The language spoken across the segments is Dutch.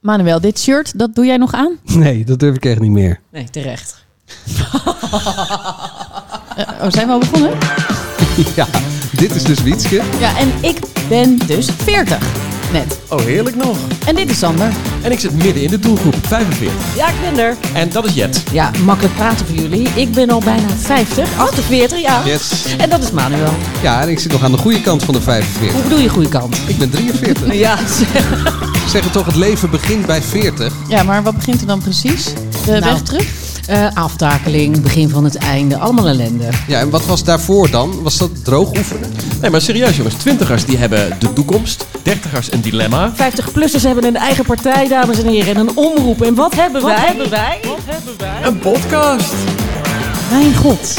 Manuel, dit shirt, dat doe jij nog aan? Eh, Nee, dat durf ik echt niet meer. Nee, terecht. Oh, zijn we al begonnen? ja, dit is dus Wietske. Ja, en ik ben dus 40. Net. Oh, heerlijk nog. En dit is Sander. En ik zit midden in de doelgroep, 45. Ja, ik ben er. En dat is Jet. Ja, makkelijk praten voor jullie. Ik ben al bijna 50. 48, ja. Yes. En dat is Manuel. Ja, en ik zit nog aan de goede kant van de 45. Hoe bedoel je goede kant? Ik ben 43. Ja, Ze zeggen toch, het leven begint bij 40. Ja, maar wat begint er dan precies? De weg terug? Nou, eh, aftakeling, begin van het einde, allemaal ellende. Ja, en wat was daarvoor dan? Was dat droog oefenen? Nee, maar serieus jongens, twintigers die hebben de toekomst, dertigers een dilemma. 50-plussers hebben een eigen partij, dames en heren, en een omroep. En wat hebben wij? Wat hebben wij? Een podcast! Mijn god.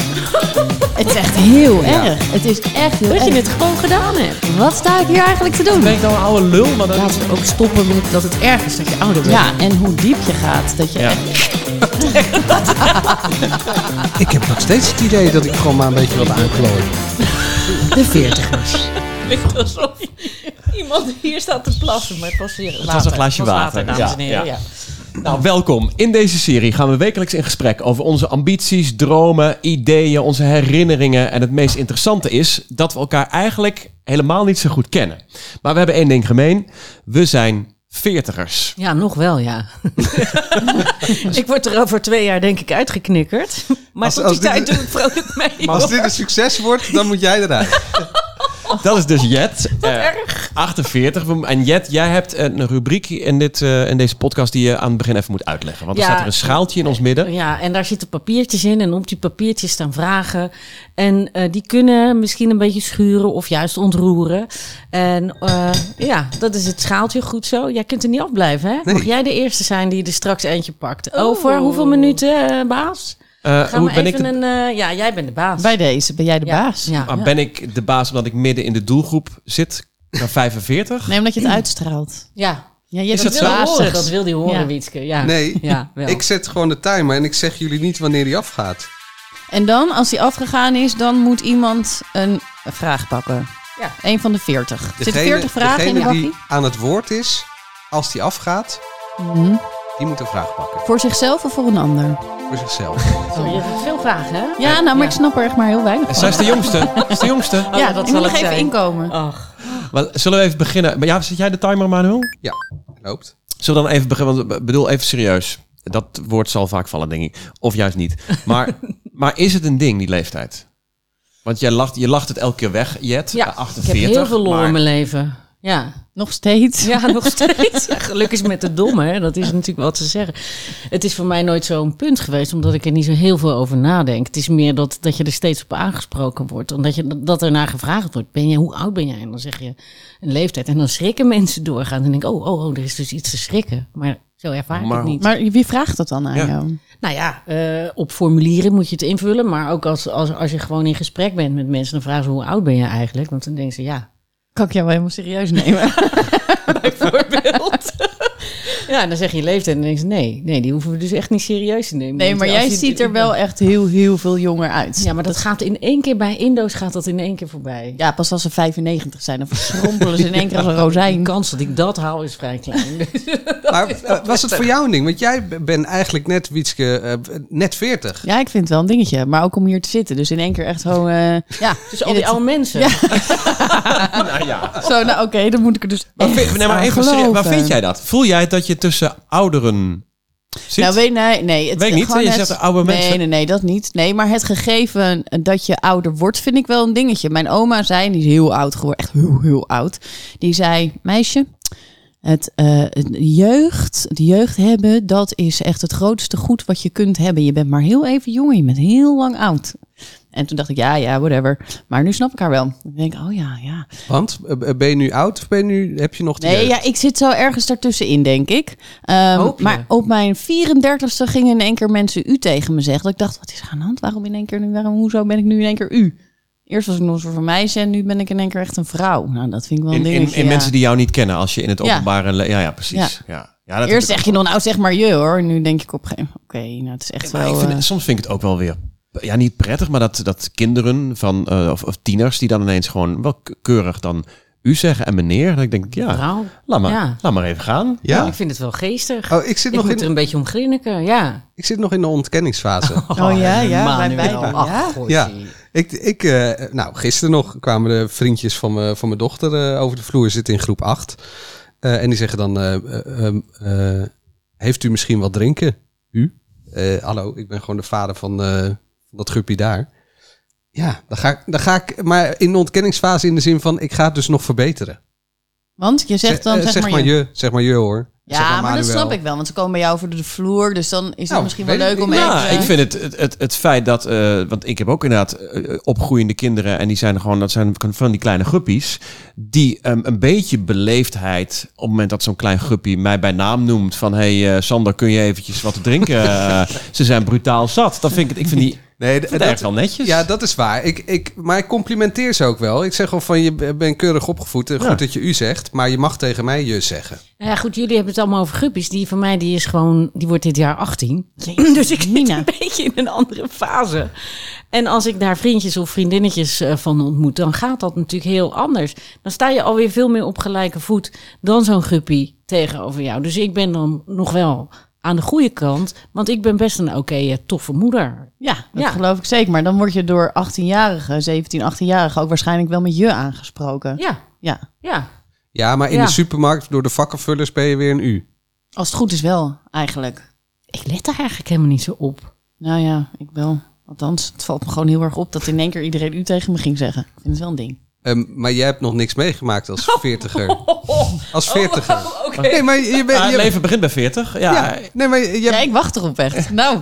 Het is echt heel erg. Het is echt heel Dat je erg. het gewoon gedaan hebt. Wat sta ik hier eigenlijk te doen? Ben ik nou een oude lul, maar dan... Laten we ook stoppen met dat het erg is dat je ouder bent. Ja, en hoe diep je gaat. Dat je Ja. echt- Ik heb nog steeds het idee dat ik gewoon maar een beetje wat aanklooi. de 40ers. klinkt alsof iemand hier staat te plassen. Maar het was weer water. een glaasje Het was water. water. dames Ja, en heren. ja. Ja. Nou, welkom. In deze serie gaan we wekelijks in gesprek over onze ambities, dromen, ideeën, onze herinneringen. En het meest interessante is dat we elkaar eigenlijk helemaal niet zo goed kennen. Maar we hebben één ding gemeen. We zijn veertigers. Ja, nog wel, ja. Ik word er over twee jaar denk ik uitgeknikkerd. Maar Als- tot als die dit- tijd doe ik vrolijk mee. Maar als dit een succes wordt, dan moet jij eruit. Dat is dus Jet. Wat erg. 48. We- En Jet, jij hebt een rubriek in, dit, eh, in deze podcast die je aan het begin even moet uitleggen. Want er Ja. staat er een schaaltje in ons midden. Ja, en daar zitten papiertjes in en op die papiertjes staan vragen. En eh, die kunnen misschien een beetje schuren of juist ontroeren. En eh, ja, dat is het schaaltje goed zo. Jij kunt er niet afblijven, hè? Mag jij de eerste zijn die er straks eentje pakt? Over Oeh. hoeveel minuten, eh, baas? Eh, Gaan Oh. hoe we ben ik even de, een... eh, ja, jij bent de baas. Bij deze ben jij de Ja, baas. Ja. ah, ben ik de baas omdat ik midden in de doelgroep zit? Naar 45? Nee, omdat je het uitstraalt. ja. Ja, je Is bent dat zo? Wil je baasig. horen? Dat wilde je horen, Ja. Wietske. Ja. Nee, Ja, wel. ik zet gewoon de timer en ik zeg jullie niet wanneer die afgaat. En dan, als die afgegaan is, dan moet iemand een vraag pakken. Ja. Eén van de veertig. Er zitten veertig vragen in de degene die bakkie. aan het woord is, als die afgaat, Mhm. die moet een vraag pakken. Voor zichzelf of voor een ander? Voor zichzelf. Sorry, Oh, je hebt veel vragen, hè? Ja, nou, maar ja. ik snap er echt maar heel weinig En van. Zij is de jongste. Zij is de jongste. Oh, ja, dat ik zal moet nog het even zijn. Oh. inkomen. Ach, Maar zullen we even beginnen? Maar Ja, zet jij de timer, Manuel? Loopt. Zullen we dan even beginnen? Want ik bedoel, even serieus. Dat woord zal vaak vallen, denk ik. Of juist niet. Maar, maar is het een ding, die leeftijd? Want jij lacht, je lacht het elke keer weg, Jet. ja. Eh, 48, ik heb heel veel lol maar- in mijn leven. Ja. Nog steeds. Ja, nog steeds. Ja, Gelukkig is met de domme, hè. dat is natuurlijk wat ze zeggen. Het is voor mij nooit zo'n punt geweest, omdat ik er niet zo heel veel over nadenk. Het is meer dat, dat je er steeds op aangesproken wordt, omdat je, dat er naar gevraagd wordt. Ben je, hoe oud ben jij? En dan zeg je een leeftijd. En dan schrikken mensen doorgaans en denk ik, oh, oh, oh, er is dus iets te schrikken. Maar zo ervaar ik Maar het hoe- niet. Maar wie vraagt dat dan aan Ja. jou? Nou ja, eh, op formulieren moet je het invullen. Maar ook als, als, als je gewoon in gesprek bent met mensen, dan vragen ze hoe oud ben je eigenlijk? Want dan denken ze, ja. Kan ik jou wel helemaal serieus nemen? Bijvoorbeeld. ja, en dan zeg je je leeftijd en dan denken ze, nee, nee, die hoeven we dus echt niet serieus te nemen. Nee, Want maar als jij je- ziet er wel echt heel, heel veel jonger uit. Ja, maar dat gaat in één keer bij Indo's gaat dat in één keer voorbij. Ja, pas als ze 95 zijn, dan verschrompelen ze in één keer als een De rozijn. kans dat ik dat haal is vrij klein. Maar eh, was het voor jou een ding? Want jij b- bent eigenlijk net, Wietske, eh, net 40. Ja, ik vind het wel een dingetje. Maar ook om hier te zitten. Dus in één keer echt gewoon... eh, ja, dus al in die het- oude mensen. Ja. Nou ja. Zo, nou oké, dan moet ik er dus Maar, echt vind, nee, maar aan even serieus, waar geloven. vind jij dat? Voel jij dat je tussen ouderen zit? Nou, weet, nee, nee, het Weet ik niet, gewoon hè? Je zegt oude Nee, mensen. nee, nee, dat niet. Nee, maar het gegeven dat je ouder wordt, vind ik wel een dingetje. Mijn oma zei, die is heel oud geworden, echt heel, heel oud. Die zei, meisje, het eh, het jeugd, de jeugd hebben, dat is echt het grootste goed wat je kunt hebben. Je bent maar heel even jong en je bent heel lang oud. En toen dacht ik, ja, ja, whatever. Maar nu snap ik haar wel. Ik denk, oh ja, ja. Want eh, ben je nu oud of ben je nu, heb je nog de Nee, jeugd? ja, ik zit zo ergens daartussenin, denk ik. Ehm, Hoop je. maar op mijn 34ste gingen in één keer mensen u tegen me zeggen. Dat ik dacht, wat is er aan de hand? Waarom in één keer nu? Waarom, hoezo ben ik nu in één keer u? Eerst was ik nog een soort van meisje en nu ben ik in één keer echt een vrouw. Nou, dat vind ik wel een in, in, dingetje. in mensen die jou niet kennen, als je in het Ja. openbare... le- Ja, ja, precies. Ja. Ja. dat Eerst heb zeg ik je nog, nou zeg maar je hoor. En nu denk ik op een gegeven moment, oké, nou het is echt ook. Maar wel... ik vind- eh, soms vind ik het ook wel weer... Ja, niet prettig, maar dat, dat kinderen van, eh, of, of tieners die dan ineens gewoon wel k- keurig dan u zeggen en meneer. Dat ik denk, ja, Nou. Wauw. laat maar, Ja. laat maar even gaan. Ja? Ik vind het wel geestig. Oh, ik zit, ik nog moet er in, een beetje om grinniken, ja. ik zit nog in de ontkenningsfase. Oh ja, ja, wij Manuel. beiden. Ach, Ja. goeie. Ja, ik, ik eh, nou, gisteren nog kwamen de vriendjes van, me, van mijn dochter eh, over de vloer zitten in groep 8. Eh, en die zeggen dan, eh, eh, ehm, eh, heeft u misschien wat drinken? U? Eh, hallo, ik ben gewoon de vader van eh, van dat guppie daar. Ja, dan ga, ik- dan ga ik, maar in de ontkenningsfase in de zin van, ik ga het dus nog verbeteren. Want je zegt dan, eh, zeg, maar, je. je. Zeg maar je hoor. Zeg Ja, maar dat Manuel. snap ik wel, want ze komen bij jou over de vloer, dus dan is het Nou, misschien wel weet ik leuk om niet. even... Ja, ik vind het, het, het, het feit dat, eh, want ik heb ook inderdaad eh, opgroeiende kinderen en die zijn gewoon, dat zijn van die kleine guppies, die ehm, een beetje beleefdheid op het moment dat zo'n klein guppie mij bij naam noemt van, hey eh, Sander, kun je eventjes wat drinken? Eh, ze zijn brutaal zat. Dat vind ik, het- ik vind die Nee, d- ik vind het dat- erg wel Dus- netjes. Ja, dat is waar. Ik, ik, maar ik complimenteer ze ook wel. Ik zeg gewoon van je b- bent keurig opgevoed. en Goed Ja. dat je u zegt, maar je mag tegen mij je zeggen. Nou ja, goed, jullie hebben het allemaal over guppies. Die van mij, die is gewoon, die wordt dit jaar 18. Dus ik Nina. Nina. Een beetje in een andere fase. En als ik daar vriendjes of vriendinnetjes eh, van ontmoet, dan gaat dat natuurlijk heel anders. Dan sta je alweer veel meer op gelijke voet dan zo'n guppie tegenover jou. Dus ik ben dan nog wel aan de goede kant, want ik ben best een oké eh, toffe moeder. Ja, dat Ja. geloof ik zeker. Maar dan word je door 18-jarigen, 17, 18-jarigen ook waarschijnlijk wel met je aangesproken. Ja. Ja, ja. Ja, maar in Ja. de supermarkt door de vakkenvullers ben je weer een u. Als het goed is wel, eigenlijk. Ik let daar eigenlijk helemaal niet zo op. Nou ja, ik wel. Althans, het valt me gewoon heel erg op dat in één keer iedereen u tegen me ging zeggen. Ik vind het wel een ding. Ehm, maar jij hebt nog niks meegemaakt als Oh. veertiger. Als veertiger. Nee, maar je Ah, bent... het Je, leven begint bij 40. Ja, ja, nee, maar je, Ja, ik wacht erop echt. Nou,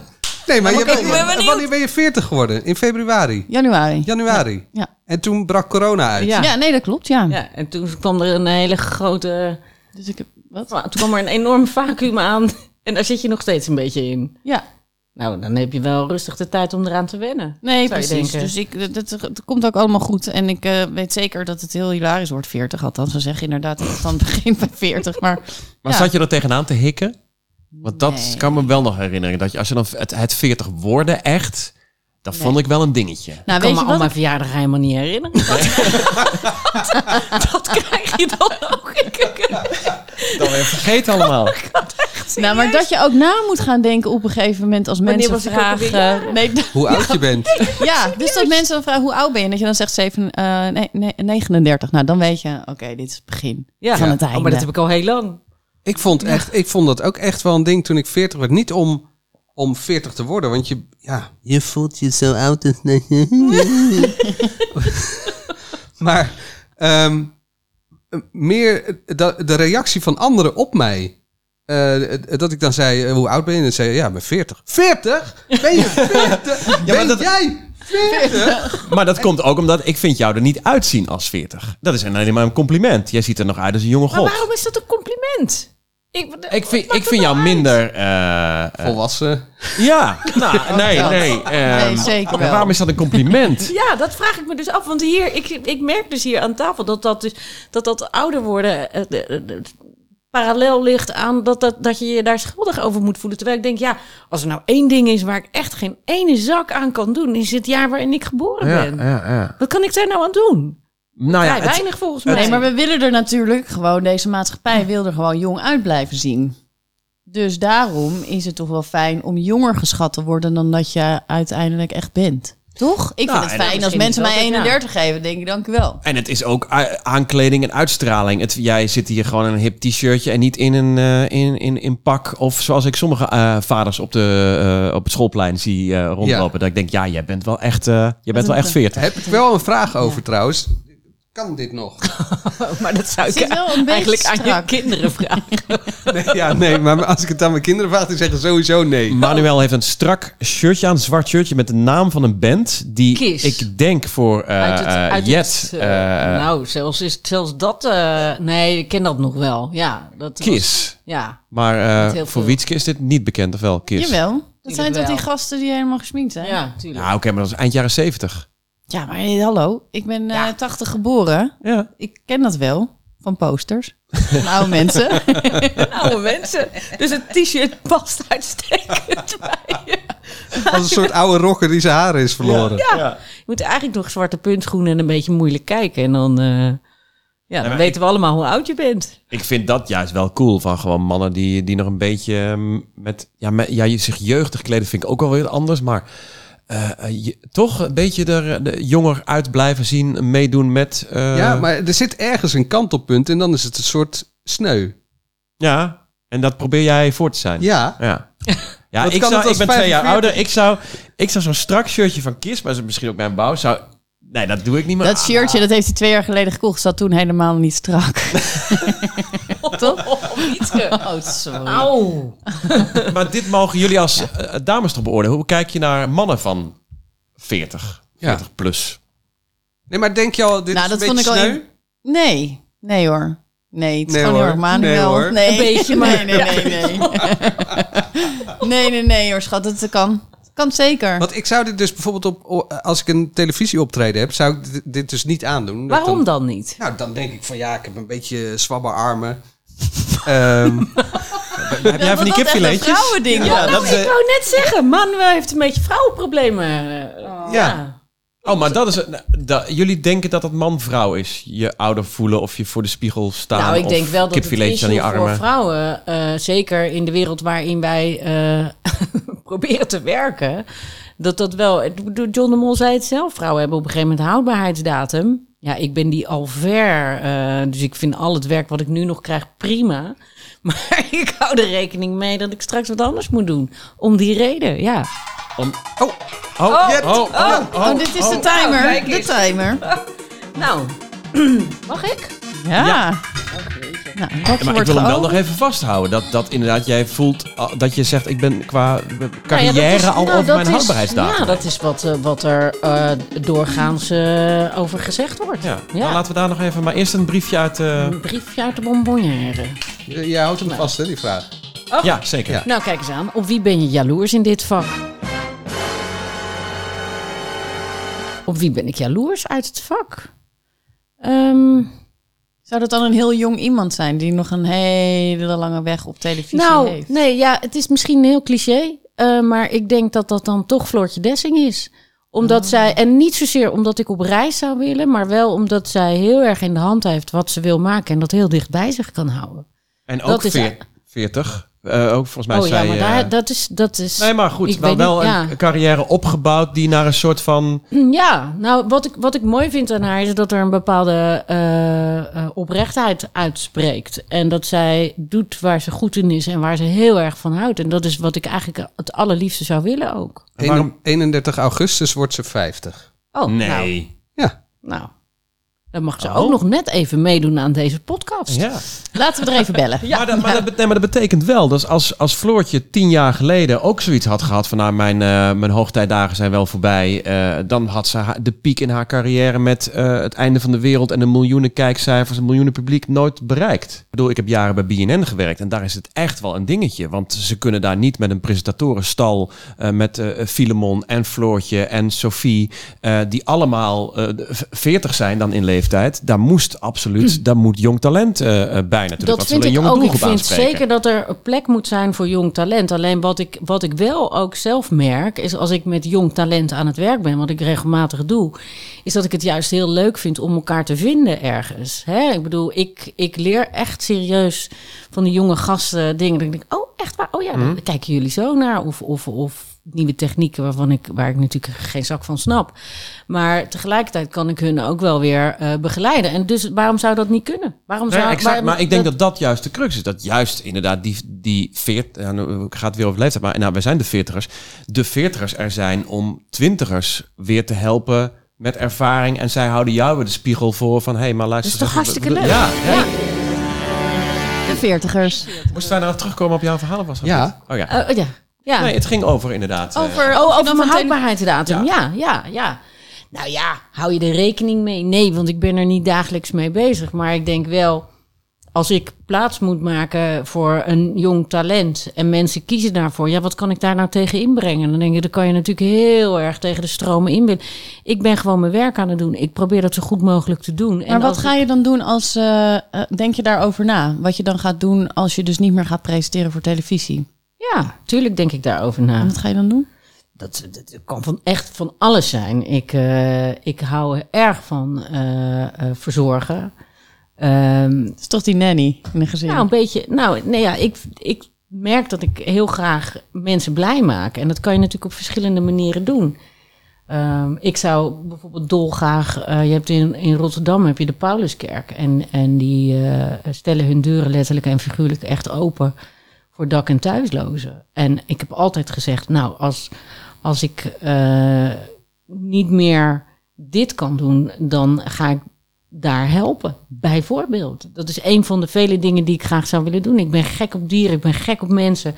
nee, maar je, Oké, ik je- ben wanneer ben je veertig geworden? In februari? januari. Januari? Ja. En toen brak corona uit. Ja, nee, dat klopt, ja. Ja, en toen kwam er een hele grote... Dus ik heb... Wat? Nou, Toen kwam er een enorm vacuüm aan. En daar zit je nog steeds een beetje in. Ja, Nou, dan heb je wel rustig de tijd om eraan te wennen. nee, Zou je precies. denken. Dus ik, dat, dat, dat komt ook allemaal goed. En ik eh, weet zeker dat het heel hilarisch wordt, 40 althans. Ze zeggen inderdaad dat het dan begint bij 40. Maar Maar Ja. zat je er tegenaan te hikken? Want dat Nee. kan me wel nog herinneren. Dat je, als je dan het, het 40 worden echt, dat vond ik wel een dingetje. nou, ik kan weet me je al wat? mijn verjaardag helemaal niet herinneren. dat krijg je dan ook. Dan weer vergeet allemaal. Nou, maar dat je ook na moet gaan denken op een gegeven moment als Wanneer mensen was ik ook alweer vragen. Nee, d- Hoe oud je bent. ja, dus dat mensen dan vragen hoe oud ben je? En dat je dan zegt zeven, eh, nee, nee, 39. Nou, dan weet je, oké, dit is het begin Ja. van het Oh, einde. maar dat heb ik al heel lang. Ik vond, echt, ik vond dat ook echt wel een ding toen ik 40 werd. Niet om, om 40 te worden, want je, ja, je voelt je zo oud. als- maar ehm, meer de, de reactie van anderen op mij. Eh, dat ik dan zei, eh, hoe oud ben je? En dan zei je, ja, ik ben 40. 40? Ben je 40? ben dat- jij 40? Maar dat komt ook omdat ik vind jou er niet uitzien als 40. Dat is alleen maar een compliment. Jij ziet er nog uit als een jonge Maar god. waarom is dat een compliment? Ik, Ik vind, ik vind jou nou minder... eh, eh, Volwassen. ja, nou, nee, dat. nee. ehm, Nee, zeker maar wel. waarom is dat een compliment? Ja, dat vraag ik me dus af. Want hier, ik, ik merk dus hier aan tafel dat dat, dus, dat, dat ouder worden eh, de- de- de- parallel ligt aan dat, dat, dat je je daar schuldig over moet voelen. Terwijl ik denk, ja, als er nou één ding is waar ik echt geen ene zak aan kan doen, is het jaar waarin ik geboren ben. Wat kan ik daar nou aan doen? Nou ja, Vrij het- weinig volgens mij. Nee, maar we willen er natuurlijk gewoon, deze maatschappij wil er gewoon jong uit blijven zien. Dus daarom is het toch wel fijn om jonger geschat te worden dan dat je uiteindelijk echt bent. Toch? Ik Nou, vind het en dat fijn is als mensen misschien mij wel, ja. 31 geven, denk ik, dank u wel. en het is ook a- aankleding en uitstraling. Het, jij zit hier gewoon in een hip t-shirtje en niet in een eh, in, in, in pak. Of zoals ik sommige eh, vaders op, de, eh, op het schoolplein zie eh, rondlopen. Dat ik denk, ja, jij bent wel echt, eh, jij bent wel echt 40. Heb ik wel een vraag over trouwens. Kan dit nog? Maar dat zou Het is wel een beetje eigenlijk aan je strak. kinderen vragen. Nee, ja, nee, maar als ik het aan mijn kinderen vraag, die zeggen sowieso nee. Manuel heeft een strak shirtje aan, een zwart shirtje met de naam van een band die Kiss. ik denk voor eh, Uit het- eh, uit Jet het, eh, eh, nou, zelfs, is, zelfs dat... eh, nee, ik ken dat nog wel. Ja, dat was- Kiss. ja. Maar eh, Niet heel voor veel. Wietske is dit niet bekend, of wel? Kiss. Jawel. Dat Tuurlijk zijn toch die wel. gasten die helemaal gesminkt zijn? ja, tuurlijk. Nou, oké, maar dat is eind jaren zeventig. Ja, maar hey, hallo, ik ben eh, Ja. 80 geboren. Ja. Ik ken dat wel van posters. Van oude mensen. oude mensen. Dus het t-shirt past uitstekend bij je. Als een soort oude rocker die zijn haren is verloren. Je moet eigenlijk nog zwarte puntschoenen en een beetje moeilijk kijken. En dan, eh, Ja, dan maar weten we allemaal hoe oud je bent. Ik vind dat juist wel cool van gewoon mannen die, die nog een beetje ehm, met, ja, met, ja, je- zich jeugdig kleden vind ik ook wel weer anders, maar eh, eh, je- toch een beetje er eh, de jonger uit blijven zien, meedoen met. eh, ja, maar er zit ergens een kantelpunt en dan is het een soort sneu. ja, en dat probeer jij voor te zijn. Ja, Ja. Ja, Wat ik, kan zou, het als ik ben twee jaar 45? ouder. Ik zou, ik zou zo'n strak shirtje van Kiss, maar dat is misschien ook mijn bouw, zou... Nee, dat doe ik niet meer. Dat shirtje, dat heeft hij twee jaar geleden gekocht. Zat toen helemaal niet strak. Toch? Oh, sorry. Auw. Ah, Maar dit mogen jullie als eh, dames toch beoordelen. Hoe kijk je naar mannen van 40, Ja. 40 plus? nee, maar denk je al, dit Nou, is dat een vond beetje ik al sneu? Nee. Nee hoor. Nee, het is Nee, gewoon heel hoor. erg manuel. Nee, hoor. nee. Een beetje, nee, maar- nee, nee, nee. nee, nee, nee hoor, schat. Dat kan. Dat kan zeker. Want ik zou dit dus bijvoorbeeld op, o- als ik een televisieoptreden heb, zou ik dit- dit dus niet aandoen. Dat Waarom dan niet? Nou, dan denk ik van ja, ik heb een beetje zwabbe armen. Ehm, Heb jij van die dat is echt een kipfiletjes? vrouwending. Ja, Ja, nou, eh, ik wou net zeggen, man eh, heeft een beetje vrouwenproblemen. eh, ja. Oh, maar dat is... een- nou, da- jullie denken dat het man-vrouw is? Je ouder voelen of je voor de spiegel staan Nou, ik of denk wel dat het kipfiletjes aan je issue voor armen. vrouwen, eh, zeker in de wereld waarin wij eh, proberen te werken, dat dat wel. ik bedoel, John de Mol zei het zelf: vrouwen hebben op een gegeven moment een houdbaarheidsdatum. Ja, ik ben die al ver, eh, dus ik vind al het werk wat ik nu nog krijg prima. Maar ik hou er rekening mee dat ik straks wat anders moet doen. Om die reden, ja. Om- Oh, Oh, Oh, oh, oh, Oh, dit is de Nou, timer. kijk De eens. timer. Nou, mag ik? Ja. Nou, dat Maar wordt ik wil hem wel geopend. nog even vasthouden. Dat, dat inderdaad jij voelt ah, dat je zegt: ik ben qua carrière Nou ja, dat is- al nou, over dat mijn is- houdbaarheidsdatum. Ja, dat is wat, eh, wat er eh, doorgaans eh, over gezegd wordt. Ja, nou laten we daar nog even. Maar eerst een briefje uit. eh, Een briefje uit de bonbonnière. je, je houdt hem vast, hè, die vraag. Ja, zeker. Ja. Nou, kijk eens aan. Op wie ben je jaloers in dit vak? Op wie ben ik jaloers uit het vak? Ehm, Zou dat dan een heel jong iemand zijn die nog een hele lange weg op televisie nou, heeft? nee, ja, het is misschien heel cliché. eh, maar ik denk dat dat dan toch Floortje Dessing is. Omdat zij, en niet zozeer omdat ik op reis zou willen, maar wel omdat zij heel erg in de hand heeft wat ze wil maken en dat heel dicht bij zich kan houden. En ook Dat is- veer- 40. eh, ook volgens mij oh zei. ja, maar eh, daar, dat is. Dat is Nee, maar goed, ik wel, weet wel niet, ja. een carrière opgebouwd die naar een soort van. Ja, nou wat ik, wat ik mooi vind aan haar is dat er een bepaalde eh, eh, oprechtheid uitspreekt. En dat zij doet waar ze goed in is en waar ze heel erg van houdt. En dat is wat ik eigenlijk het allerliefste zou willen ook. En waarom- 31 augustus wordt ze 50. Oh, nou, nee. Ja. nou, dan mag ze Oh. ook nog net even meedoen aan deze podcast. Ja. Laten we er even bellen. Maar, dat, maar, dat, bet- nee, maar dat betekent wel dat als, als Floortje tien jaar geleden ook zoiets had gehad van nou, mijn, eh, mijn hoogtijdagen zijn wel voorbij. eh, dan had ze haar- de piek in haar carrière met eh, het einde van de wereld en de miljoenen kijkcijfers, een miljoenen publiek nooit bereikt. Ik bedoel, ik heb jaren bij BNN gewerkt en daar is het echt wel een dingetje. Want ze kunnen daar niet met een presentatorenstal eh, met eh Filemon en Floortje en Sophie, eh, die allemaal eh, de- 40 zijn dan in leeftijd. Daar moest absoluut, daar moet jong talent eh, eh, bij natuurlijk. want ze Dat vind willen een jonge ik ook. Ik doelgroep vind aanspreken. zeker dat er een plek moet zijn voor jong talent. Alleen wat ik, wat ik wel ook zelf merk, is als ik met jong talent aan het werk ben, wat ik regelmatig doe, is dat ik het juist heel leuk vind om elkaar te vinden ergens. Hè? Ik bedoel, ik, ik leer echt serieus van die jonge gasten dingen. Dat ik denk, oh echt waar? Oh ja, Mhm. daar kijken jullie zo naar. Of, of, of nieuwe technieken waarvan ik, waar ik natuurlijk geen zak van snap. Maar tegelijkertijd kan ik hun ook wel weer eh, begeleiden. En dus waarom zou dat niet kunnen? Waarom zou, Ja, exact, waarom- maar ik denk dat dat juist de crux is. Dat juist inderdaad die, die 40, ja, nou, ik ga het weer over leeftijd, maar nou, wij zijn de veertigers. De veertigers er zijn om twintigers weer te helpen met ervaring. En zij houden jou weer de spiegel voor van, hé, hey, maar luister. Dat is toch eens even- hartstikke Ja, ja. De veertigers. Moesten wij nou terugkomen op jouw verhaal? of Was dat Ja. het? Oh ja. Eh, oh, ja. ja. Nee, het ging over inderdaad. eh, Over, of Oh, je dan over mijn meteen- houdbaarheidsdatum. Ja. ja, ja, Nou ja, hou je er rekening mee? Nee, want ik ben er niet dagelijks mee bezig. Maar ik denk wel, als ik plaats moet maken voor een jong talent en mensen kiezen daarvoor, ja, wat kan ik daar nou tegen inbrengen? Dan denk ik, dan kan je natuurlijk heel erg tegen de stromen in willen. Ik ben gewoon mijn werk aan het doen. Ik probeer dat zo goed mogelijk te doen. Maar wat als ga ik- je dan doen als... eh, eh, denk je daarover na? Wat je dan gaat doen als je dus niet meer gaat presenteren voor televisie? Ja, tuurlijk denk ik daarover na. Wat ga je dan doen? Dat, dat kan van echt van alles zijn. Ik, eh, ik hou er erg van eh, eh, verzorgen. Ehm, Het is toch die nanny in een gezin. nou, een beetje. Nou, nee, ja, ik, ik merk dat ik heel graag mensen blij maak. En dat kan je natuurlijk op verschillende manieren doen. Ehm, ik zou bijvoorbeeld dolgraag. eh, je hebt in, in Rotterdam heb je de Pauluskerk. En, en die eh, stellen hun deuren letterlijk en figuurlijk echt open voor dak- en thuislozen. En ik heb altijd gezegd: Nou, als, als ik eh, niet meer dit kan doen, dan ga ik daar helpen. Bijvoorbeeld. Dat is een van de vele dingen die ik graag zou willen doen. Ik ben gek op dieren, ik ben gek op mensen.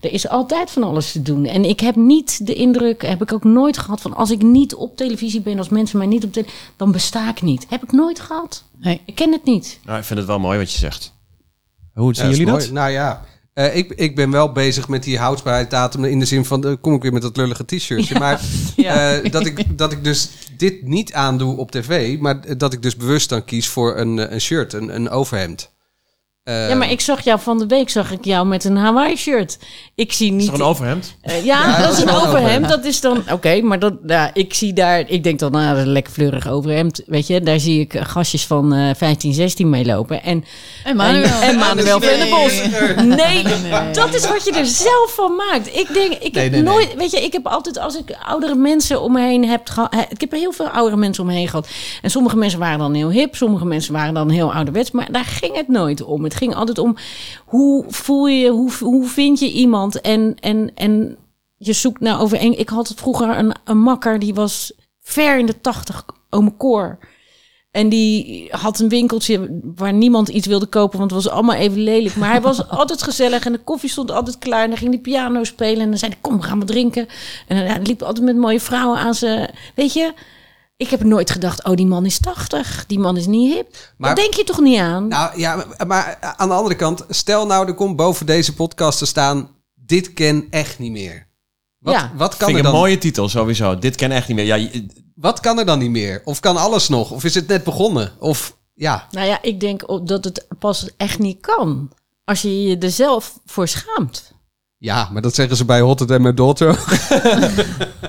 Er is altijd van alles te doen. En ik heb niet de indruk, heb ik ook nooit gehad van als ik niet op televisie ben, als mensen mij niet op televisie, dan besta ik niet. Heb ik nooit gehad. Nee. Ik ken het niet. Nou, ik vind het wel mooi wat je zegt. Hoe zien Ja, jullie is dat? mooi. Nou ja, eh, ik, ik ben wel bezig met die houdbaarheidsdatum in de zin van, eh, kom ik weer met dat lullige t-shirtje. Maar eh, dat, ik, dat ik dus dit niet aandoe op tv, maar dat ik dus bewust dan kies voor een, eh, een shirt, een, een overhemd. Eh, ja, maar ik zag jou van de week, zag ik jou met een Hawaii shirt. Ik zie Is niet. er een overhemd? Eh, ja, Ja, dat is een wel een overhemd. overhemd. Dat is dan. Oké, maar dat, ja, ik zie daar. Ik denk dan, nou, dat is een lekker fleurig overhemd. Weet je, daar zie ik eh, gastjes van eh 15, 16 mee lopen. En, En Manuel. en, en Manuel Nee. van de Bos. Nee, Nee. dat is wat je er zelf van maakt. Ik denk, ik Nee, heb nee, nee. nooit. Weet je, ik heb altijd als ik oudere mensen om me heen heb gehad. Ik heb heel veel oudere mensen om me heen gehad. En sommige mensen waren dan heel hip, sommige mensen waren dan heel ouderwets. Maar daar ging het nooit om. Het ging altijd om hoe voel je, je, hoe, hoe vind je iemand? En, en, en je zoekt naar overeen. Ik had vroeger een, een makker die was ver in de tachtig, oom Cor. En die had een winkeltje waar niemand iets wilde kopen, want het was allemaal even lelijk. Maar hij was altijd gezellig en de koffie stond altijd klaar. En dan ging die piano spelen en dan zei hij, kom, we gaan maar drinken. En dan ja, hij liep altijd met mooie vrouwen aan zijn... Weet je, ik heb nooit gedacht, oh, die man is 80, die man is niet hip. Maar- Daar denk je toch niet aan? Nou ja, maar- maar aan de andere kant, stel nou er komt boven deze podcast te staan, dit ken echt niet meer. Wat, Ja. wat, kan Vind er ik een dan, mooie titel sowieso. Dit ken echt niet meer. Ja, je- wat kan er dan niet meer? Of kan alles nog? Of is het net begonnen? Of ja, Nou ja, ik denk op- dat het pas echt niet kan. Als je je er zelf voor schaamt. ja maar dat zeggen ze bij Hot and My Daughter nou,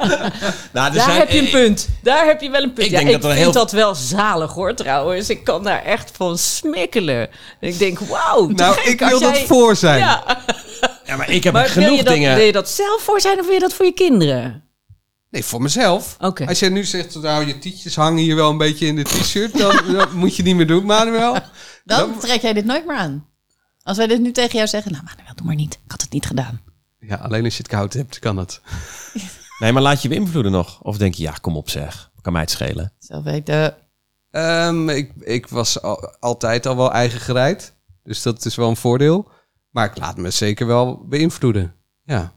er Daar zijn- heb je een punt. Daar heb je wel een punt. Ik Ja, Ik, denk dat er vind heel- dat wel zalig hoor trouwens. Ik kan daar echt van smikkelen. Ik denk, wauw. te Nou, gek, ik als wil dat jij- voor zijn. Ja, Ja, maar ik heb maar wil genoeg je, dat, dingen. wil je dat zelf? Zelf voor zijn of wil je dat voor je kinderen? Nee, voor mezelf. Oké. Als jij nu zegt, nou, je tietjes hangen hier wel een beetje in de t-shirt, dan dat moet je niet meer doen, Manuel. Dan trek jij dit nooit meer aan. Als wij dit nu tegen jou zeggen, nou Manuel, doe maar niet. Ik had het niet gedaan. Ja, alleen als je het koud hebt, kan het. Nee, maar laat je beïnvloeden nog. Of denk je, ja, kom op zeg. Kan mij het schelen. Zo weten. Ehm, ik, ik was al- altijd al wel eigen gereid, dus dat is wel een voordeel. Maar ik laat me zeker wel beïnvloeden. Ja.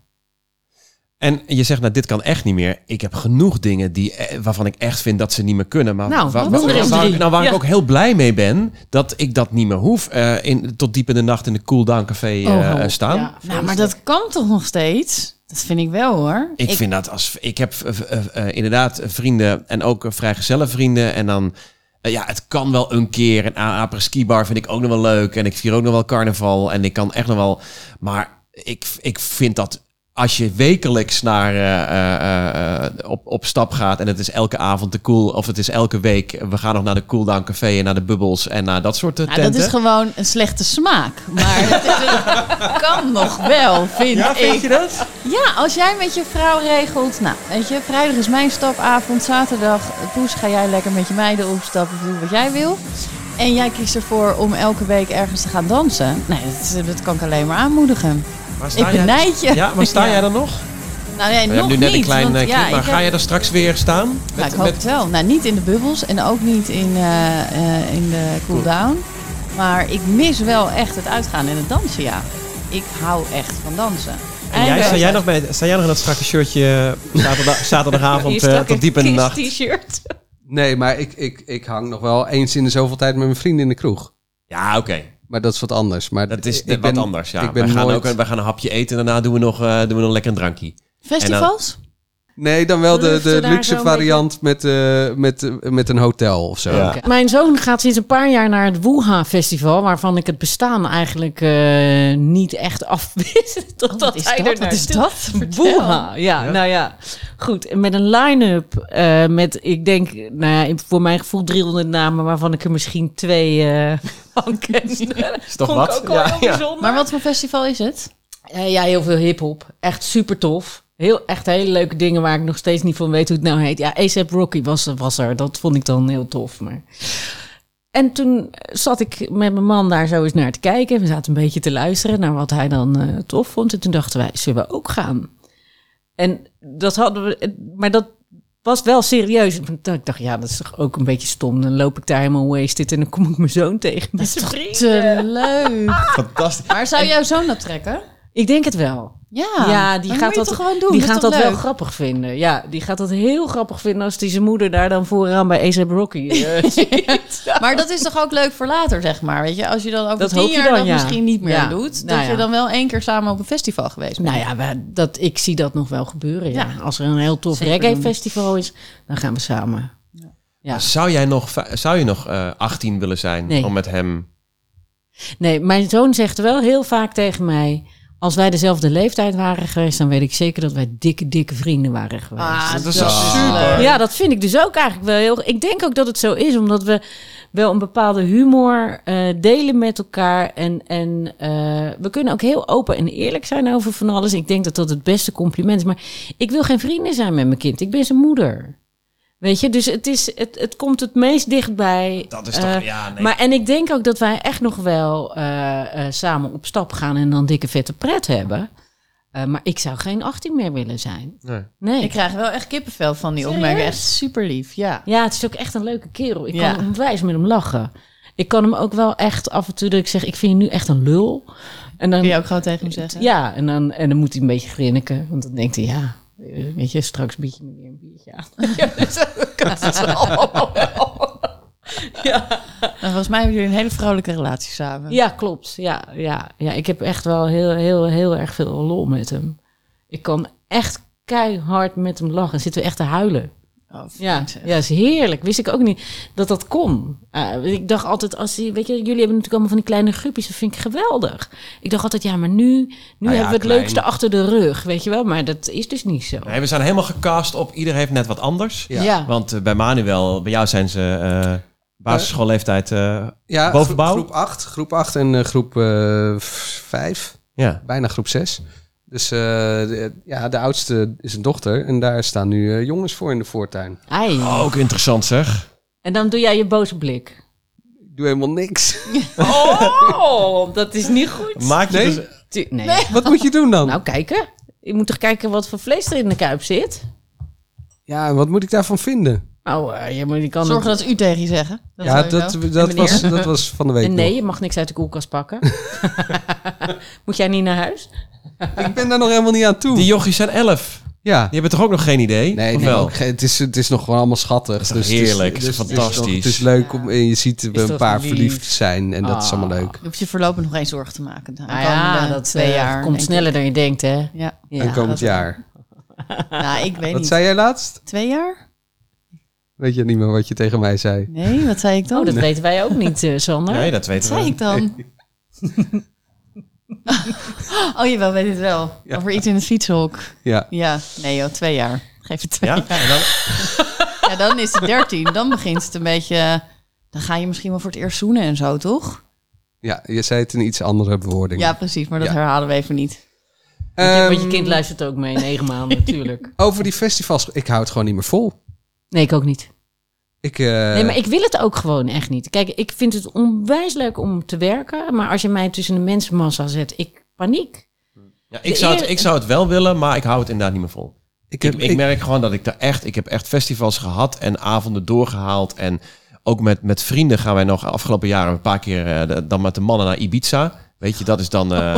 En je zegt, nou, dit kan echt niet meer. Ik heb genoeg dingen die, eh, waarvan ik echt vind dat ze niet meer kunnen. Maar Nou, waar, wat doen er eens waar, drie? ik- nou, waar Ja. ik ook heel blij mee ben, dat ik dat niet meer hoef. eh, in, tot diep in de nacht in de Cool Down Café eh, Oh, hou op. staan. Nou, maar dat kan toch nog steeds? Dat vind ik wel hoor. Ik, vind dat als ik heb eh, eh, eh, inderdaad vrienden en ook eh, vrijgezelle vrienden en dan eh, ja, het kan wel een keer een apres skibar vind ik ook nog wel leuk en ik vier ook nog wel carnaval en ik kan echt nog wel, maar ik, ik vind dat als je wekelijks naar eh, eh, eh, op, op stap gaat en het is elke avond de cool of het is elke week eh, we gaan nog naar de cool down café en naar de bubbels en naar dat soort eh, Nou, tenten. dat is gewoon een slechte smaak. Maar dat is een- kan nog wel, vind ik. je dat? Ja, als jij met je vrouw regelt. Nou, weet je, vrijdag is mijn stapavond. Zaterdag, eh, poes, ga jij lekker met je meiden opstappen. Doe wat jij wil. En jij kiest ervoor om elke week ergens te gaan dansen. Nee, dat, dat kan ik alleen maar aanmoedigen. Maar sta Ik jij- benijd je. Ja, maar sta jij dan nog? Nou nee, We nog hebben nu net niet. een klein want, eh, ja, clip, maar ik ga heb- je daar straks weer staan? nou, ik hoop het wel. Nou, niet in de bubbels en ook niet in, eh, eh, in de cooldown. Maar ik mis wel echt het uitgaan en het dansen, ja. Ik hou echt van dansen. En jij, Eindelijk- sta, jij nog bij, sta jij nog in dat strakke shirtje eh, zaterdag, zaterdagavond eh, tot diep in de nacht? t-shirt. Nee, maar ik, ik, ik hang nog wel eens in de zoveel tijd met mijn vrienden in de kroeg. Ja, oké. Maar dat is wat anders. Maar Dat is ik net ben- wat anders, ja. Ik ben wij, gaan nooit... ook, een- wij gaan een hapje eten en daarna doen we nog, eh, doen we nog lekker een drankje. Festivals? Nee, dan wel de, de Luchten daar luxe zo'n variant met, eh, met, eh, met een hotel of zo. Ja. Ja. Mijn zoon gaat sinds een paar jaar naar het Wuha Festival, waarvan ik het bestaan eigenlijk eh, niet echt afwist. Oh, Totdat Wat is hij dat? er Wat is naartoe- dat? Woeha, ja, nou ja. Goed, en met een line-up eh, met, ik denk, nou ja, in- voor mijn gevoel 300 namen, waarvan ik er misschien twee eh van ken. Is toch Vond ik wat? ook wel heel bijzonder. Maar wat voor festival is het? Eh, ja, heel veel hip-hop. Echt super tof. Heel, echt hele leuke dingen waar ik nog steeds niet van weet hoe het nou heet. Ja, ASAP Rocky was, was er. Dat vond ik dan heel tof. Maar... En toen zat ik met mijn man daar zo eens naar te kijken. We zaten een beetje te luisteren naar wat hij dan eh, tof vond. En toen dachten wij, zullen we ook gaan? En dat hadden we, eh, maar dat was wel serieus. Want Ik dacht, ja, dat is toch ook een beetje stom. Dan loop ik daar helemaal wasted en dan kom ik mijn zoon tegen met zijn vriend. Te leuk. Fantastisch. Maar zou jouw zoon dat trekken? Ik denk het wel. Ja, Ja, die dan gaat moet je dat- toch gewoon doen. Die is gaat toch dat wel leuk? grappig vinden. Ja, die gaat dat heel grappig vinden als die zijn moeder daar dan vooraan bij ASAP Rocky. eh, Maar dat is toch ook leuk voor later, zeg maar. Weet je, als je dan over Dat tien hoop je jaar dan, dat ja. misschien niet meer Ja. doet, Nou dat je ja. dan wel één keer samen op een festival geweest bent. nou ja, we- dat, ik zie dat nog wel gebeuren. Ja. Ja. Als er een heel tof Zeker reggae doen. festival is, dan gaan we samen. Ja. Zou jij nog, va- zou je nog eh, 18 willen zijn Nee. om met hem? Nee, mijn zoon zegt wel heel vaak tegen mij... Als wij dezelfde leeftijd waren geweest, dan weet ik zeker dat wij dikke, dikke vrienden waren geweest. Ah, Dat is dat zo is super. leuk. Ja, dat vind ik dus ook eigenlijk wel heel. Ik denk ook dat het zo is, omdat we wel een bepaalde humor eh, delen met elkaar. En, en eh, we kunnen ook heel open en eerlijk zijn over van alles. Ik denk dat dat het beste compliment is. Maar ik wil geen vrienden zijn met mijn kind. Ik ben zijn moeder. Weet je, dus het, is, het, het komt het meest dichtbij. Dat is toch, eh, ja, nee. Maar en ik denk ook dat wij echt nog wel eh, eh, samen op stap gaan en dan dikke vette pret hebben. Eh, maar ik zou geen 18 meer willen zijn. Nee. Nee. Ik krijg wel echt kippenvel van die Serieus? opmerking. Echt super lief, ja. Ja, het is ook echt een leuke kerel. Ik Ja. kan onwijs met hem lachen. Ik kan hem ook wel echt af en toe dat ik zeg, ik vind je nu echt een lul. En dan, Kun je ook gewoon tegen hem zeggen. ja, en dan, en dan moet hij een beetje grinniken. Want dan denkt hij, ja, eh, weet je, straks bied je me weer een biertje aan. dus En volgens mij hebben jullie een hele vrouwelijke relatie samen. Ja, klopt. Ja, ja, ja, ik heb echt wel heel, heel, heel erg veel lol met hem. Ik kan echt keihard met hem lachen. Zitten we echt te huilen. Oh, Ja, fijn, ja, is heerlijk. Wist ik ook niet dat dat kon. Eh, ik dacht altijd, als die, weet je, jullie hebben natuurlijk allemaal van die kleine groepjes, dat vind ik geweldig. Ik dacht altijd, ja, maar nu, nu hebben we het klein. leukste achter de rug, weet je wel. Maar dat is dus niet zo. Nee, we zijn helemaal gecast op ieder heeft net wat anders. Ja. Ja. Want eh, bij Manuel, bij jou zijn ze eh basisschoolleeftijd. eh, Ja, Bovenbouw? groep 8 groep acht en eh, groep 5, ja. bijna groep 6. Dus eh, de, ja, de oudste is een dochter en daar staan nu eh, jongens voor in de voortuin. Ai. Ook interessant zeg. En dan doe jij je boze blik. Ik doe helemaal niks. Oh, dat is niet goed. Maak je Nee? dus- Tu- nee. Wat moet je doen dan? Nou, kijken. Je moet toch kijken wat voor vlees er in de kuip zit? Ja, en wat moet ik daarvan vinden? Nou, eh, je, moet- je kan... Zorg dat ze u tegen je zeggen. Dat ja, sowieso. dat, En dat, meneer? was, dat was van de week. En nee, je mag niks uit de koelkast pakken. moet jij niet naar huis? nog. Ik ben daar nog helemaal niet aan toe. Die jochies zijn 11. ja. Die hebben toch ook nog geen idee? Nee, Of nee wel? ook geen- het, is, het is nog gewoon allemaal schattig. Dus is toch heerlijk? Het is nog- fantastisch. Het is leuk om en je ziet we Is een toch paar lief? verliefd zijn en dat is Ah. allemaal leuk. Je hoeft je voorlopig nog geen zorgen te maken. De Nou komende ja, dat twee eh, jaar. komt denk sneller dan je denkt, hè? ik. Ja. Ja. en komend dat- jaar. Nou, ik weet Wat niet. zei jij laatst? Twee jaar? Weet je niet meer wat je tegen mij zei? Nee, wat zei ik dan? Oh, dat weten wij ook niet, eh, Sander. Nee, Wat dat weten zei we. ik dan? oh, jawel, weet het wel. Ja. Over iets in het fietshok. Ja. Ja, nee joh, twee jaar. Geef het twee Ja? jaar. En dan, Ja, dan is het dertien. Dan begint het een beetje... Dan ga je misschien wel voor het eerst zoenen en zo, toch? ja, je zei het in iets andere bewoording. Ja, precies. Maar dat Ja. herhalen we even niet. Want je- want je Ehm, kind luistert ook mee, negen maanden natuurlijk. Over die festivals, ik hou het gewoon niet meer vol. Nee, ik ook niet. Ik, eh, Nee, maar ik wil het ook gewoon echt niet. Kijk, ik vind het onwijs leuk om te werken, maar als je mij tussen de mensenmassa zet, ik paniek. ja, ik, zou het, ik zou het wel willen, maar ik hou het inderdaad niet meer vol. ik Ik, heb, ik ik- merk gewoon dat ik daar echt... Ik heb echt festivals gehad en avonden doorgehaald. En ook met, met vrienden gaan wij nog afgelopen jaren een paar keer... eh, de- dan met de mannen naar Ibiza. Weet je, dat is dan eh,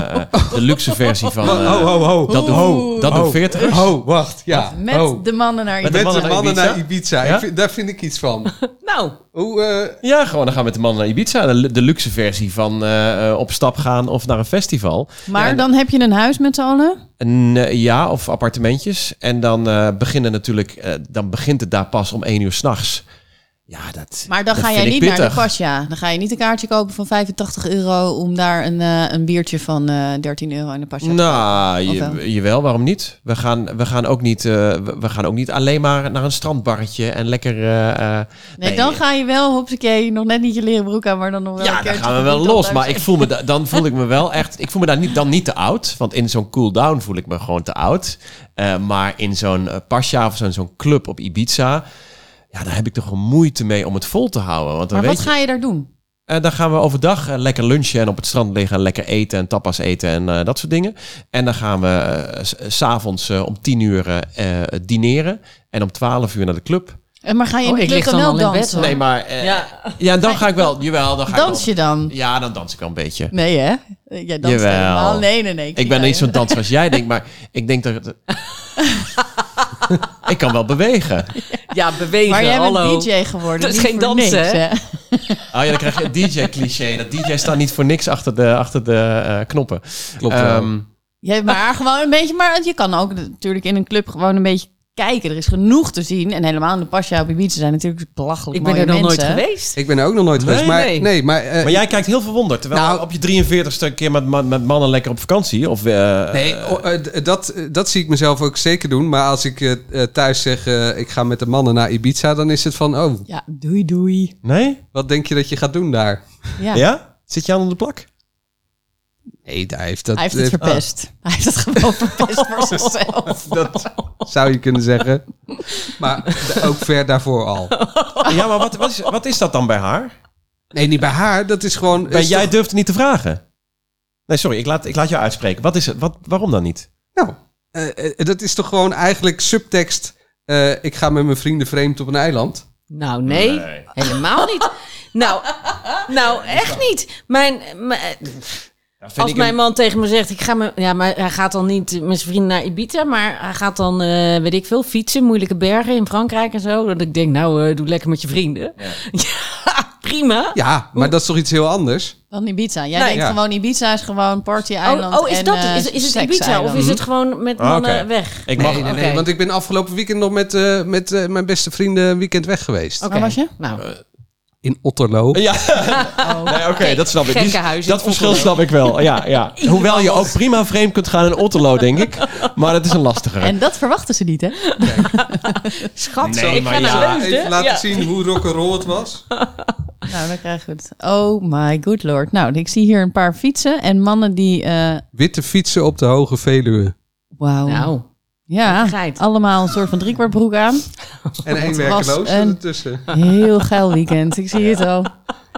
de luxe versie van... eh, Ho, ho, ho. dat doen, Ho, dat ho. doen 40 Oh, wacht, ja. Met oh. de mannen naar Met je de Met de mannen naar mannen Ibiza? naar Ibiza. Ja? Ik vind- daar vind ik iets van. Nou, Hoe, eh, Ja, gewoon dan gaan we met de mannen naar Ibiza. De, de luxe versie van eh, eh, op stap gaan of naar een festival. Maar dan heb je een huis met z'n allen. Een, eh, ja, of appartementjes. En dan eh, beginnen natuurlijk, eh, dan begint het daar pas om één uur s'nachts. Ja, dat. Maar dan dat ga vind jij ik niet naar de pittig. pasja. Dan ga je niet een kaartje kopen van 85 euro om daar een, eh, een biertje van eh 13 euro in de pasja. te Nou, Of je- wel? jawel, waarom niet? We gaan, we, gaan ook niet eh, we we gaan ook niet alleen maar naar een strandbarretje en lekker. eh, eh, kopen. nee, dan ga je wel, hopsakee, nog net niet je leren broek aan, maar dan nog wel ja, een dan keertje gaan we goed wel op los. thuis. Maar ik voel me da- dan voel ik me wel echt. Ik voel me daar niet, dan niet te oud. Want in zo'n cool-down voel ik me gewoon te oud. Eh, maar in zo'n eh, pasja of zo'n zo'n club op Ibiza. Ja, daar heb ik toch een moeite mee om het vol te houden. Want dan Maar weet wat je, ga je daar doen? eh, dan gaan we overdag eh, lekker lunchen en op het strand liggen. en Lekker eten en tapas eten en eh, dat soort dingen. En dan gaan we eh, s- s'avonds eh, om tien uur eh, eh, dineren. En om twaalf uur naar de club. En maar ga je in Oh, de ik club lig dan dan wel al in bed, dansen? Nee, maar... eh, ja. dan ga ik wel... Jawel, dan ga Dans ik je dan? wel... Ja, dan dans ik wel een beetje. Nee, hè? Jij danst Jawel. helemaal. Nee, nee, nee. Ik ben niet zo'n danser als jij denkt, maar ik denk dat... het- ik kan wel bewegen. Ja, bewegen, Maar jij bent hallo. DJ geworden. Dat is niet geen voor dansen, niks, hè? Oh ja, dan krijg je het DJ-cliché. Dat DJ's staan niet voor niks achter de, achter de eh, knoppen. Klopt wel. Ehm, Ja, maar gewoon een beetje. Maar je kan ook natuurlijk in een club gewoon een beetje kijken. Er is genoeg te zien. En helemaal in de Pasja op Ibiza zijn natuurlijk belachelijk Ik ben mooie er nog nooit mensen. geweest. Ik ben er ook nog nooit geweest. Nee, maar, nee. nee, maar, eh, Maar jij kijkt heel verwonderd. Terwijl Nou- op je 43ste een keer met, ma- met mannen lekker op vakantie. Of, eh, Nee, o- eh, d- dat, eh, dat zie ik mezelf ook zeker doen. Maar als ik eh, eh, thuis zeg, eh, ik ga met de mannen naar Ibiza, dan is het van, oh, Ja, doei doei. nee? wat denk je dat je gaat doen daar? Ja. Ja. Zit je aan onder de plak? Nee, hij heeft dat, Hij heeft ah. het eh, verpest. Hij heeft het gewoon verpest voor zichzelf. dat zou je kunnen zeggen. Maar d- ook ver daarvoor al. Ja, maar wat, wat, is, wat is dat dan bij haar? Nee, niet bij haar. Dat is gewoon... Bij, is jij toch- durft het niet te vragen. Nee, sorry, ik laat, ik laat jou uitspreken. Wat is het? Wat, waarom dan niet? Nou, eh, eh, dat is toch gewoon eigenlijk subtekst... eh, ik ga met mijn vrienden vreemd op een eiland. Nou, nee, Nee. helemaal niet. Nou, nou echt niet. Mijn, mijn- als mijn man tegen me zegt, ik ga me, ja, maar hij gaat dan niet met zijn vrienden naar Ibiza, maar hij gaat dan, eh, weet ik veel, fietsen, moeilijke bergen in Frankrijk en zo. Dat ik denk, nou, eh, doe lekker met je vrienden. Ja, prima. Oh, Ja, maar dat is toch iets heel anders? Dan Ibiza. Jij Nee. denkt Ja. gewoon Ibiza is gewoon party-eiland. Nou oh, oh, is en, dat is, eh, is het Ibiza sekseiland. of is het gewoon met Ah, oké. mannen weg? Ik Nee, mag, nee, nee. oké. Want ik ben afgelopen weekend nog met, eh, met eh, mijn beste vrienden een weekend weg geweest. Waar was je? Nou, Eh, In Otterlo. Ja, nee, oké, dat snap ik. Die- gekkenhuis in dat verschil Otterlo. snap ik wel. Ja, ja. Hoewel je ook prima vreemd kunt gaan in Otterlo, denk ik. Maar dat is een lastige. En dat verwachten ze niet, hè? schat, Nee, ik maar ga ja. naar Leusden. Even laten Ja. zien hoe rock'n'roll het was. Nou, dan krijgen we het. Oh my good lord. Nou, ik zie hier een paar fietsen en mannen die... eh, Witte fietsen op de Hoge Veluwe. Wauw. Nou, ja, geit. allemaal een soort van driekwart broek aan. En één was werkeloos een- ertussen. Heel geil weekend. Ik zie het al.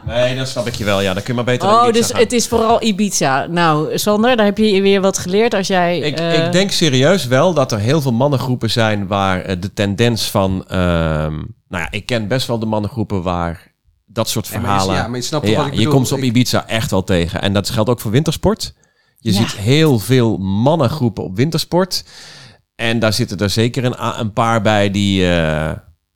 Nee, dat snap ik je wel. Ja, dan kun je maar beter naar Oh, Ibiza dus gaan. het is vooral Ibiza. Nou, Sander, daar heb je weer wat geleerd als jij... Ik, eh, ik denk serieus wel dat er heel veel mannengroepen zijn waar eh, de tendens van... ehm, nou ja, ik ken best wel de mannengroepen waar dat soort Ja, maar je- verhalen... ja, maar je snapt toch wat ik je bedoel. komt ze op Ik- Ibiza echt wel tegen. En dat geldt ook voor wintersport. Je Ja. ziet heel veel mannengroepen op wintersport. En daar zitten er zeker een, a- een paar bij die... eh,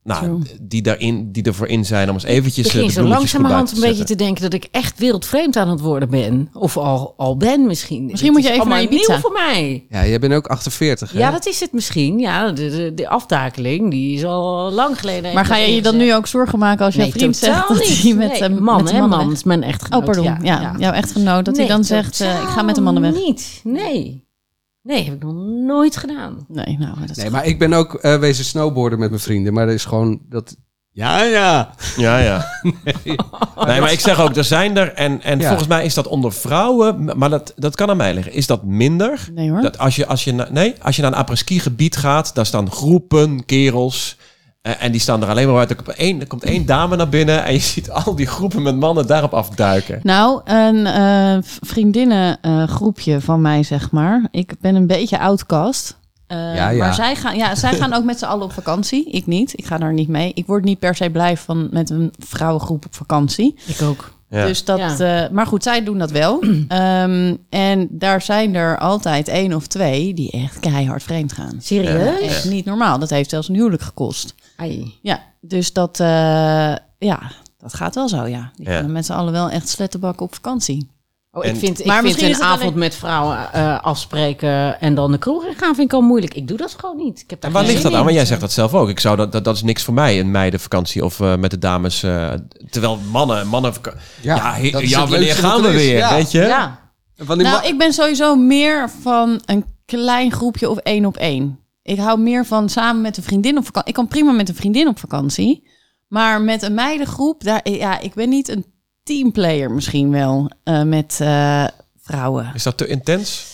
nou, die, daarin, die ervoor in zijn om eens eventjes eh, begin de zo bloemetjes goed buiten langzamerhand te een beetje zetten. te denken dat ik echt wereldvreemd aan het worden ben. Of al, al ben misschien. Misschien Het moet je is even allemaal naar Ibiza. nieuw voor mij. Ja, jij bent ook 48, hè? Ja, dat is het misschien. Ja, de, de, de aftakeling die is al lang geleden. Maar ga je je dan nu ook zorgen maken als je nee, vriend zegt totaal dat niet. hij met Nee, een man, met de hè, mannen man. weg- is mijn echtgenoot. Oh, pardon. Ja, jouw echtgenoot. Dat Nee, hij dan zegt, eh, ik ga met de mannen weg. totaal niet. Nee. Nee, heb ik nog nooit gedaan. Nee, nou, dat is Nee, maar ik ben ook eh, wezen snowboarden met mijn vrienden. Maar dat is gewoon... Dat... Ja, ja. Ja, ja. Nee. maar ik zeg ook, er zijn er. En, en Ja. volgens mij is dat onder vrouwen, maar dat, dat kan aan mij liggen. Is dat minder? Nee hoor. Dat als je, als je, na- nee, als je naar een apres-ski gebied gaat, daar staan groepen, kerels. eh, en die staan er alleen maar uit. Er komt, één, er komt één dame naar binnen en je ziet al die groepen met mannen daarop afduiken. Nou, een eh vriendinnengroepje van mij, zeg maar. Ik ben een beetje outcast. Eh, Ja, ja. Maar zij gaan, ja, zij gaan ook met z'n allen op vakantie. Ik niet. Ik ga daar niet mee. Ik word niet per se blij van met een vrouwengroep op vakantie. Ik ook. Ja. Dus dat, Ja. eh, maar goed, zij doen dat wel. Ehm, en daar zijn er altijd één of twee die echt keihard vreemd gaan. Serieus? Echt niet normaal. Dat heeft zelfs een huwelijk gekost. Ai. Ja, dus dat, eh, ja, dat gaat wel zo, ja. Die Ja. gaan met z'n allen wel echt slettenbakken op vakantie. Oh, ik En- vind, ik Maar vind misschien is een het avond alleen- met vrouwen eh, afspreken en dan de kroeg in gaan, vind ik al moeilijk. Ik doe dat gewoon niet. Ik heb daar En waar geen ligt zin dat aan? in. Want jij zegt dat zelf ook. Ik zou dat, dat, dat is niks voor mij, een meidenvakantie of eh, met de dames. eh, terwijl mannen, mannen. Ja, ja, he- dat is ja, het wanneer leukste wat gaan we er is. weer? Ja. Weet je? Ja, Wanneer ma- Nou, ik ben sowieso meer van een klein groepje of één op één. Ik hou meer van samen met een vriendin op vakantie. Ik kan prima met een vriendin op vakantie. Maar met een meidengroep, daar, ja, ik ben niet een teamplayer misschien wel eh, met eh, vrouwen. Is dat te intens?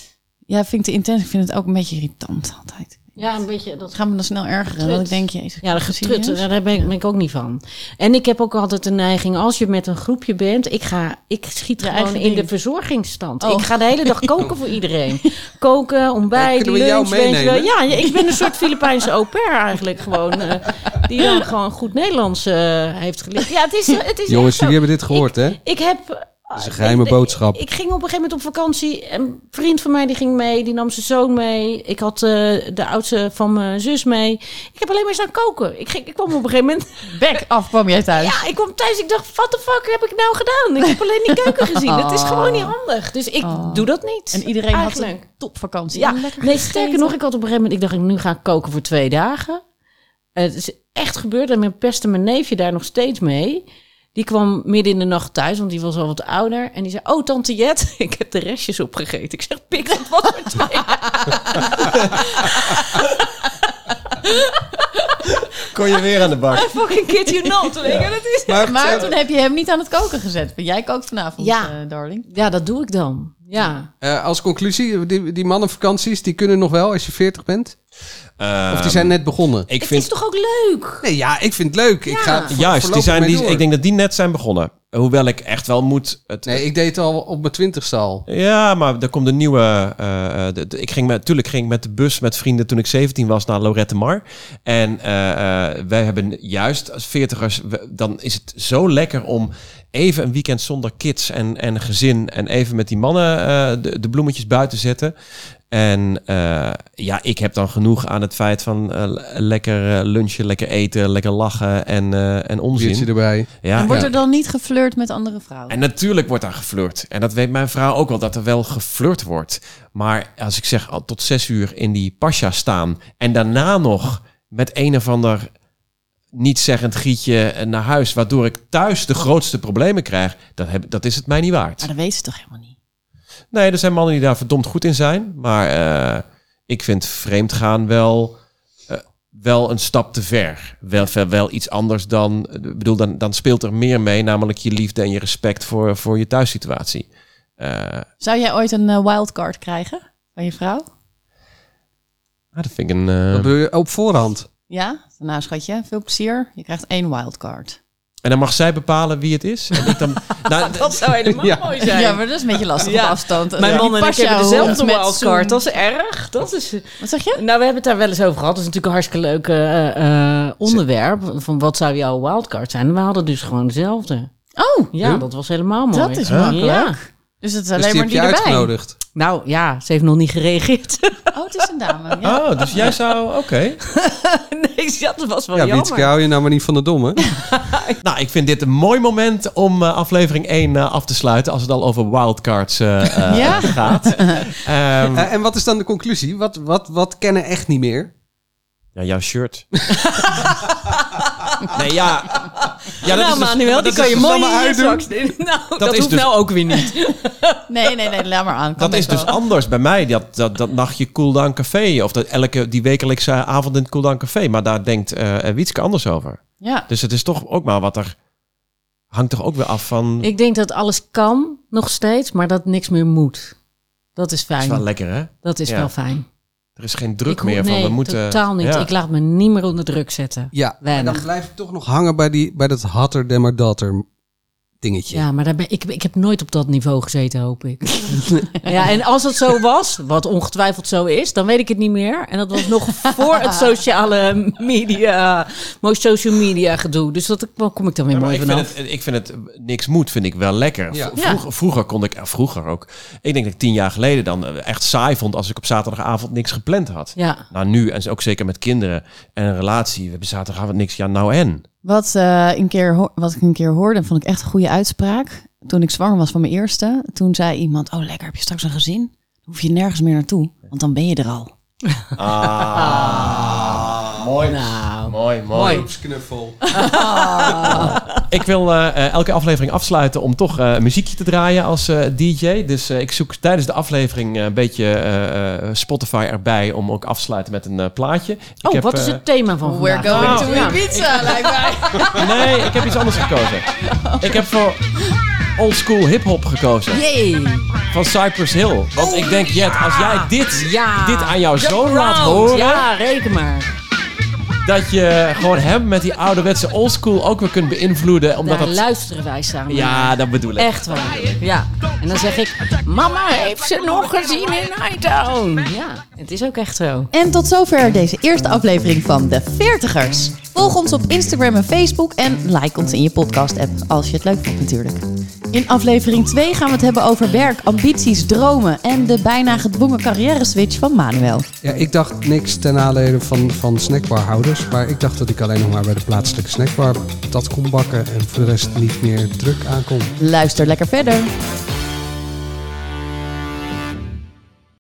Ja, vind ik te intens. Ik vind het ook een beetje irritant altijd. ja, een beetje dat Dat gaan we dan snel ergeren. Dat ik denk, jezus. Ja, dat getrut, eh, serieus? daar ben ik, ben ik ook niet van. En ik heb ook altijd de neiging, als je met een groepje bent, ik, ga, ik schiet gewoon eigen in de ding. verzorgingsstand. Oh. Ik ga de hele dag koken voor iedereen. Koken, ontbijt, kunnen we jou lunch, weet je wel. meenemen? Ja, ja, ik ben een soort Filipijnse au pair eigenlijk gewoon. eh, die dan gewoon goed Nederlands eh, heeft geleerd. Ja, het is, het is Jongens, echt zo. jullie hebben dit gehoord, hè? Ik heb... eh, is een geheime boodschap. Ik, ging op een gegeven moment op vakantie. Een vriend van mij die ging mee, die nam zijn zoon mee. Ik had eh, de oudste van mijn zus mee. Ik heb alleen maar staan koken. Ik, ging, ik kwam op een gegeven moment Bek af kwam jij thuis. ja, ik kwam thuis. Ik dacht, what the fuck heb ik nou gedaan? Ik heb alleen die keuken gezien. Het is gewoon niet handig. Dus ik Oh. doe dat niet. En iedereen had Eigenlijk. een topvakantie. ja, En nee, lekker sterker gegeten. nog, ik had op een gegeven moment... Ik dacht, nu ga ik koken voor twee dagen. Eh, Het is echt gebeurd. En mijn pestte mijn neefje daar nog steeds mee. Die kwam midden in de nacht thuis, want die was al wat ouder. En die zei, oh, tante Jet, ik heb de restjes opgegeten. Ik zeg, pik dat wat voor twee. Kon je weer aan de bak? Fucking kid you not. weet je, dat is... Maar toen heb je hem niet aan het koken gezet. Want Jij kookt vanavond, Ja. eh, darling. Ja, dat doe ik dan. Ja. Eh, als conclusie, die, die mannenvakanties, die kunnen nog wel als je 40 bent? Of die zijn net begonnen? Ik het vind is toch ook leuk? Ehm, Nee, ja, ik vind het leuk. Ik ga het voor- Juist, die voorlopig zijn, mee die, door. ik denk dat die net zijn begonnen. Hoewel ik echt wel moet. Het, Nee, ik deed het al op mijn twintigste al. Ja, maar er komt een nieuwe. eh, eh, de- de- ik ging met, tuurlijk ging ik met de bus met vrienden toen ik 17 was naar Lorette Mar. En eh, eh, wij hebben juist als veertigers, we- dan is het zo lekker om even een weekend zonder kids en, en gezin en even met die mannen eh, de, de bloemetjes buiten zetten. En eh, ja, ik heb dan genoeg aan het feit van eh, le- lekker eh, lunchen, lekker eten, lekker lachen en, eh en Biertje onzin. erbij. Ja, en wordt ja. er dan niet geflirt met andere vrouwen? En natuurlijk wordt daar geflirt. En dat weet mijn vrouw ook wel, dat er wel geflirt wordt. Maar als ik zeg al tot zes uur in die pasja staan... en daarna nog met een of ander nietszeggend gietje eh, naar huis... waardoor ik thuis de grootste problemen krijg... dat, heb, dat is het mij niet waard. Maar dat weten ze toch helemaal niet? Nee, er zijn mannen die daar verdomd goed in zijn. Maar eh, ik vind vreemdgaan wel, eh, wel een stap te ver. Wel, wel, wel iets anders dan... eh, Ik bedoel, dan, dan speelt er meer mee. Namelijk je liefde en je respect voor, voor je thuissituatie. Eh, Zou jij ooit een eh, wildcard krijgen van je vrouw? nou, dat vind ik een... Dat eh, doe je op voorhand. Ja? Nou, schatje, veel plezier. Je krijgt één wildcard. en dan mag zij bepalen wie het is. En ik dan, nou, Dat zou helemaal Ja. mooi zijn. Ja, maar dat is een beetje lastig Ja. op afstand. Mijn Die man en ik pasja hebben hond dezelfde met wildcard. zoen. Dat is erg. Dat is... Wat zeg je? Nou, we hebben het daar wel eens over gehad. Dat is natuurlijk een hartstikke leuk eh, eh, onderwerp. Van wat zou jouw wildcard zijn? We hadden dus gewoon dezelfde. Oh, Ja, dat was helemaal mooi. dat is makkelijk. Ja. Dus het is Dus alleen die maar heb die je erbij. uitgenodigd. Oh, Nou ja, ze heeft nog niet gereageerd. Oh, het is een dame. Ja. Oh, dus jij zou... Oké. nee, dat was wel Ja, Wietke, jammer. hou je nou maar niet van de domme. Nou, ik vind dit een mooi moment om eh, aflevering 1 eh, af te sluiten... als het al over wildcards eh, eh, Ja. gaat. Ehm, Eh, en wat is dan de conclusie? Wat, wat, wat kennen echt niet meer? Ja, jouw shirt. nee, ja. ja dat nou, is dus- Manuel, dat die is kan dus- je dat mooi is in je allemaal zak uitdoen. steken. Nou, dat, is hoeft dus- nou ook weer niet. Nee, nee, nee, laat maar aan. Kan Dat is best dus wel. anders bij mij, dat, dat, dat nachtje Cool Down Café. Of dat elke, die wekelijkse avond in het Cool Down Café. Maar daar denkt eh eh, Wietske anders over. Ja. Dus het is toch ook maar wat er... Hangt toch ook weer af van... Ik denk dat alles kan, nog steeds, maar dat niks meer moet. Dat is dat is fijn. wel lekker, hè? dat is ja. wel fijn. Er is geen druk Ik hoef- meer van... nee, we moeten, totaal niet. Ja. Ik laat me niet meer onder druk zetten. Ja, maar dan Weinig. blijf ik toch nog hangen bij, die, bij dat hatter demmer datter dingetje. Ja, maar daar ben, ik, ik heb nooit op dat niveau gezeten, hoop ik. ja, en als dat zo was, wat ongetwijfeld zo is, dan weet ik het niet meer. En dat was nog voor het sociale media, mooi social media gedoe. Dus dat daar kom ik dan weer Ja, maar mooi ik, vind vanaf. het, ik vind het, eh, niks moet, vind ik wel lekker. Ja. V- Vroeger, vroeger kon ik, eh, vroeger ook, ik denk dat ik tien jaar geleden dan eh, echt saai vond als ik op zaterdagavond niks gepland had. Ja. Nou nu, en ook zeker met kinderen en een relatie, we hebben zaterdagavond niks, ja nou en? Wat, eh, een keer, ho- wat ik een keer hoorde, en vond ik echt een goede uitspraak. toen ik zwanger was van mijn eerste, toen zei iemand: Oh, lekker, heb je straks een gezin? Dan hoef je nergens meer naartoe, want dan ben je er al. Mooi. Nou. Mooi, Oh, mooi. Groepsknuffel. Ik wil eh, eh, elke aflevering afsluiten om toch eh, een muziekje te draaien als eh, DJ. Dus eh, ik zoek tijdens de aflevering eh, een beetje eh, eh, Spotify erbij om ook af te sluiten met een eh, plaatje. Ik Oh, heb, wat eh, is het thema van We're vandaag? going Oh, to ja. Ibiza, lijkt mij. Nee, ik heb iets anders gekozen. Ik heb voor oldschool hip-hop gekozen. Jee. Van Cypress Hill. Want ik denk, Jet, als jij dit, Oh, Ja. dit aan jouw The zoon laat Proud. horen. Ja, reken maar. dat je gewoon hem met die ouderwetse oldschool ook weer kunt beïnvloeden. Omdat Daar dat. luisteren wij samen. Ja, dat bedoel ik. Echt waar. Ja. En dan zeg ik, mama heeft ze nog gezien in Hightown. Ja, het is ook echt zo. En tot zover deze eerste aflevering van De Veertigers. Volg ons op Instagram en Facebook en like ons in je podcast-app, als je het leuk vindt natuurlijk. In aflevering 2 gaan we het hebben over werk, ambities, dromen en de bijna gedwongen carrière-switch van Manuel. Ja, ik dacht niks ten nadele van, van snackbarhouders. Maar ik dacht dat ik alleen nog maar bij de plaatselijke snackbar dat kon bakken. En voor de rest niet meer druk aankom. Luister lekker verder.